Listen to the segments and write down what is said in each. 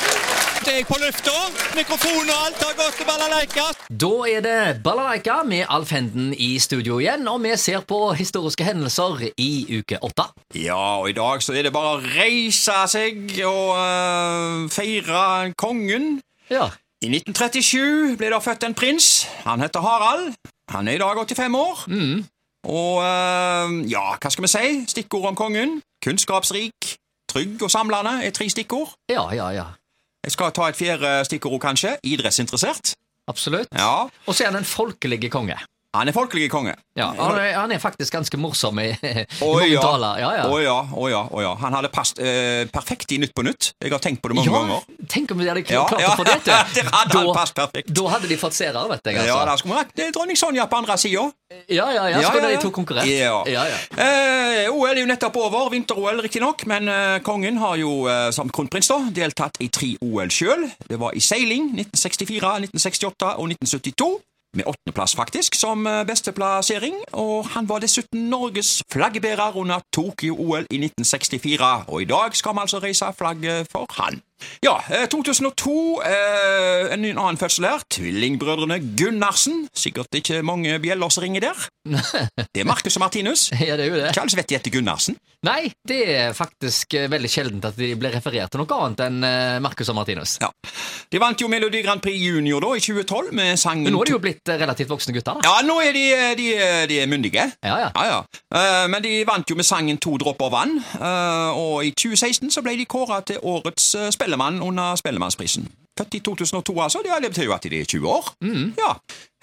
Snart er jeg på lufta. Mikrofon og alt har gått til balalaika. Da er det Balalaika med Alf Henden i studio igjen, og vi ser på historiske hendelser i uke åtte. Ja, og i dag så er det bare å reise seg og eh, feire kongen. Ja. I 1937 ble det født en prins. Han heter Harald. Han er i dag 85 år. Og eh, ja, hva skal vi si? Stikkord om kongen. Kunnskapsrik, trygg og samlende er tre stikkord. ja, ja, ja. Jeg skal ta et fjerde stikkord, kanskje. Idrettsinteressert. Absolutt. Ja, Og så er han en folkelig konge. han er folkelig konge. Ja, han, er, han er faktisk ganske morsom i, i Å mange ja. taler. Ja, ja. Å ja, å ja, å ja. Han hadde passet eh, perfekt i Nytt på nytt. Jeg har tenkt på det mange ja, ganger. tenk om de hadde Ja, klart å ja. få det til! Der hadde han Da- passet perfekt. Da hadde de fått seere, vet jeg. Ja, Altså. der skulle vi hatt det er dronning Sonja på andre sida. Ja, ja, ja. Ja, Skulle ja, ja. de to konkurrert? Ja. ja, ja. Eh, OL er jo nettopp over, vinter-OL riktignok, men eh, kongen har jo, eh, som kronprins, da, deltatt i tre OL sjøl. Det var i seiling 1964, 1968 og 1972. Med åttendeplass, faktisk, som eh, beste plassering. Og han var dessuten Norges flaggbærer under Tokyo-OL i 1964. Og i dag skal vi altså reise flagget for han. Ja, eh, 2002, eh, en annen fødsel her. Tvillingbrødrene Gunnarsen. Sikkert ikke mange bjeller som ringer der. Det er Marcus og Martinus. Ja, det er jo det. Ikke alle som vet de heter Gunnarsen. Nei, det er faktisk eh, veldig sjeldent at de blir referert til noe annet enn eh, Marcus og Martinus. Ja. De vant jo Melodi Grand Prix Junior da, i 2012 med sangen Men nå er de jo blitt eh, relativt voksne gutter, da. Ja, nå er de, de, de er myndige. Ja, ja. Ja, ja. Eh, men de vant jo med sangen To dråper vann, eh, og i 2016 så ble de kåra til årets eh, spellemann under Spellemannsprisen. Født i 2002, altså. Det betyr jo at de er 20 år. Mm. Ja.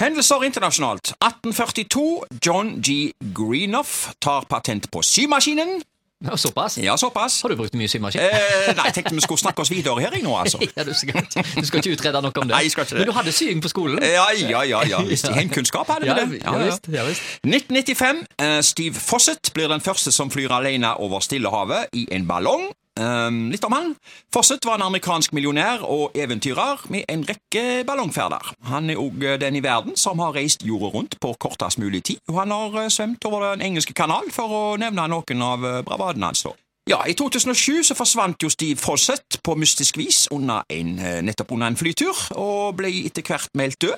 Hendelser internasjonalt. 1842. John G. Greenoff tar patent på symaskinen. Ja, Såpass. Ja, såpass. Har du brukt mye symaskin? Eh, nei, jeg tenkte vi skulle snakke oss videre her, jeg nå, altså. Ja, du, skal, du skal ikke utrede noe om det. Nei, jeg skal ikke det. Men du hadde sying på skolen? Ja, ja, ja. ja. Visst, i Heimkunnskap hadde vi Ja, det. ja, visst, ja visst. 1995. eh, Steve Fawcett blir den første som flyr alene over Stillehavet i en ballong. Ehm, litt om han. Fawcett var en amerikansk millionær og eventyrer med en rekke ballongferder. Han er òg eh, den i verden som har reist jorda rundt på kortest mulig tid, og han har eh, svømt over Den engelske kanal, for å nevne noen av eh, bravadene hans. da. Ja, I 2007 så forsvant jo Steve Fawcett på mystisk vis under en, eh, nettopp under en flytur, og ble etter hvert meldt død.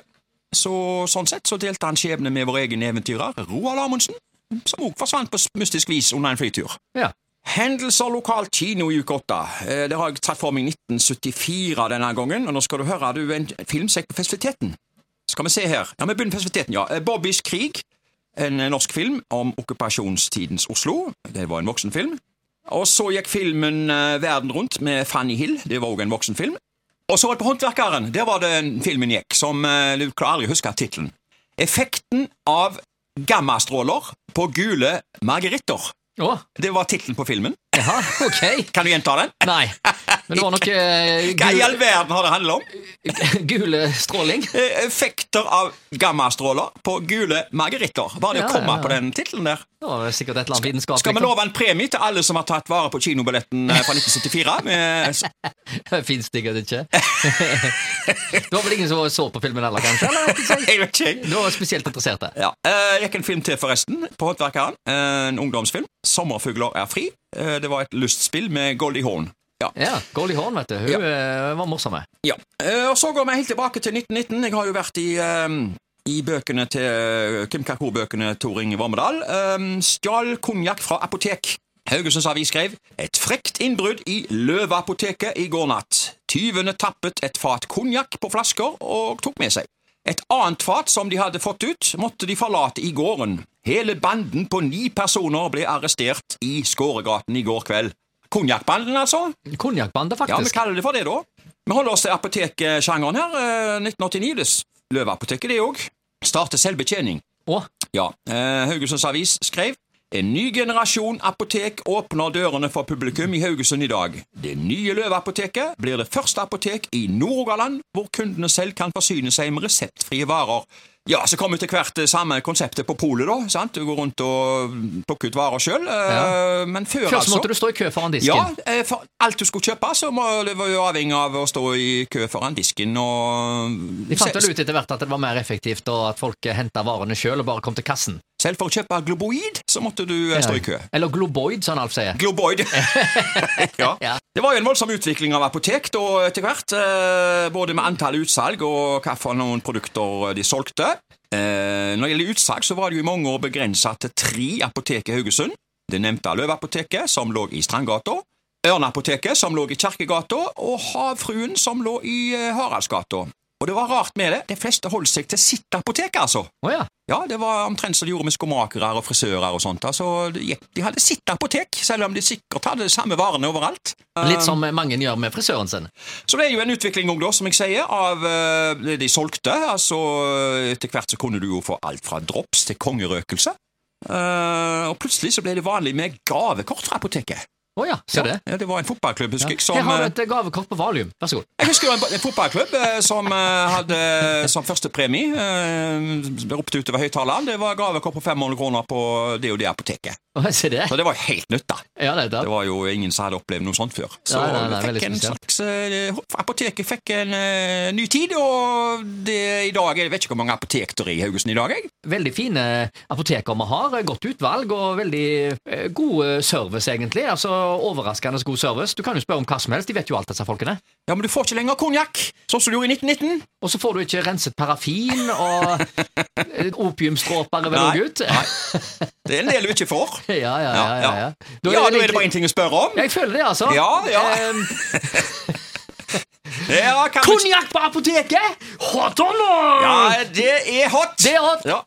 Så sånn sett så delte han skjebne med vår egen eventyrer, Roald Amundsen, som òg forsvant på s- mystisk vis under en flytur. Ja. Hendelser lokalt kino i uke åtte. Eh, Det har jeg tatt for meg 1974 denne gangen, og nå skal du høre du en filmsekk på festiviteten. Skal vi se her. Ja, vi begynner på festiviteten, ja. Eh, Bobbys krig, en eh, norsk film om okkupasjonstidens Oslo. Det var en voksenfilm. Og så gikk filmen eh, Verden rundt med Fanny Hill. Det var òg en voksenfilm. Og så var det på Håndverkeren. Der var det en filmen gikk, som eh, du klarer aldri å huske tittelen. Effekten av gammastråler på gule margeritter. Å, Det var tittelen på filmen. jaha, ok. Kan du gjenta den? Nei. Men det var noe eh, Hva i gul, all verden har det handla om? gule stråling. Eh, Effekter av gammastråler på gule margeritter. Bare det Ja, å komme ja, ja. på den tittelen der. Det var vel sikkert et eller annet Skal vitenskapelig. vi love en premie til alle som har tatt vare på kinobilletten eh, fra 1974? Med, s- Fins det sikkert ikke. det var vel ingen som så på filmen heller, kanskje? Eller? vet ikke jeg. jeg vet ikke. Det var spesielt interesserte. Ja. Eh, gikk en film til, forresten, på Håndverkeren. Eh, en ungdomsfilm. 'Sommerfugler er fri'. Eh, det var et lystspill med Goldie Hawn. Ja. Ja, Goldie Hawn, vet du. Hun Ja. eh, var morsom. jeg. ja. Eh, og så går vi helt tilbake til 1919. Jeg har jo vært i eh, i bøkene til eh, Kim Kakor-bøkene Tor Inge Vormedal. Eh, stjal konjakk fra apotek. Haugesunds Avis skrev et frekt innbrudd i Løveapoteket i går natt. Tyvene tappet et fat konjakk på flasker og tok med seg. Et annet fat som de hadde fått ut, måtte de forlate i gården. Hele banden på ni personer ble arrestert i Skåregaten i går kveld. Konjakkbanden, altså? Konjakkbande, Ja, vi faktisk. kaller det for det, da. Vi holder oss til apoteksjangeren her. eh, 1989, det s- Løveapoteket, det òg. Starter selvbetjening. Å, Ja, eh, Haugesunds Avis skrev en ny generasjon apotek åpner dørene for publikum i Haugesund i dag. Det nye Løveapoteket blir det første apotek i Nord-Rogaland hvor kundene selv kan forsyne seg med reseptfrie varer. Ja, så kom etter hvert det samme konseptet på polet, da. sant? Du går rundt og plukker ut varer sjøl. Ja. Men før, Først altså måtte du stå i kø foran ja, disken. eh, for alt du skulle kjøpe, så må det var jo avhengig av å stå i kø foran disken og De fant vel ut etter hvert at det var mer effektivt, og at folk henta varene sjøl og bare kom til kassen. Selv for å kjøpe globoid så måtte du eh, stå i kø. Eller globoid, som Alf sier. Globoid. ja. Ja. Det var jo en voldsom utvikling av apotek da etter hvert. eh, Både med antall utsalg og hva for noen produkter de solgte. Eh, Når det gjelder utsalg, så var det jo i mange år begrensa til tre apotek i Haugesund. Det nevnte Løveapoteket, som lå i Strandgata. Ørneapoteket, som lå i Kjerkegata. Og Havfruen, som lå i eh, Haraldsgata. Og det var rart med det. De fleste holdt seg til sitt apotek, altså. Å ja. Ja, det var omtrent som de gjorde med skomakere og frisører og sånt. Altså, de, gikk- de hadde sitt apotek, selv om de sikkert hadde de samme varene overalt. Litt som Um, mange gjør med frisøren sin. Så det er jo en utvikling også, da, som jeg sier, av eh, det de solgte. Altså, etter hvert så kunne du jo få alt fra drops til kongerøkelse. Eh, og plutselig så ble det vanlig med gavekort fra apoteket. Å ja, ser det. Ja, det var en fotballklubb, husker jeg, som Her har eh, du et gavekort på valium. Vær så god. Jeg husker jo en, en fotballklubb eh, som eh, hadde som første premie, eh, ropte utover høyttaleren, det var gavekort på 500 kroner på det og det apoteket. Å, Se det. Så det var jo helt nytt, da. Ja, det er det. Det var jo ingen som hadde opplevd noe sånt før. Så Nei, nei, nei, vi veldig fikk en spesielt. slags eh, Apoteket fikk en eh, ny tid, og det i dag Jeg vet ikke hvor mange apotek det er i Haugesund i dag, jeg. Veldig fine apoteker vi har. Godt utvalg og veldig eh, god service, egentlig. Altså Overraskende god service. Du kan jo spørre om hva som helst. De vet jo alt, disse folkene. Ja, men du får ikke lenger konjakk, sånn som du gjorde i 1919. Og så får du ikke renset paraffin, og eh, opiumstråper er vel Nei. òg ut. Det er en del du ikke får. Ja, ja, ja. Ja, ja, ja. ja. Da Ja, nå egentlig- er det bare én ting å spørre om. Ja, Jeg føler det, altså. Ja, ja. Ehm, Ja, kan du... Konjakk på apoteket! Hot or not? ja det er hot! Det er hot. Ja.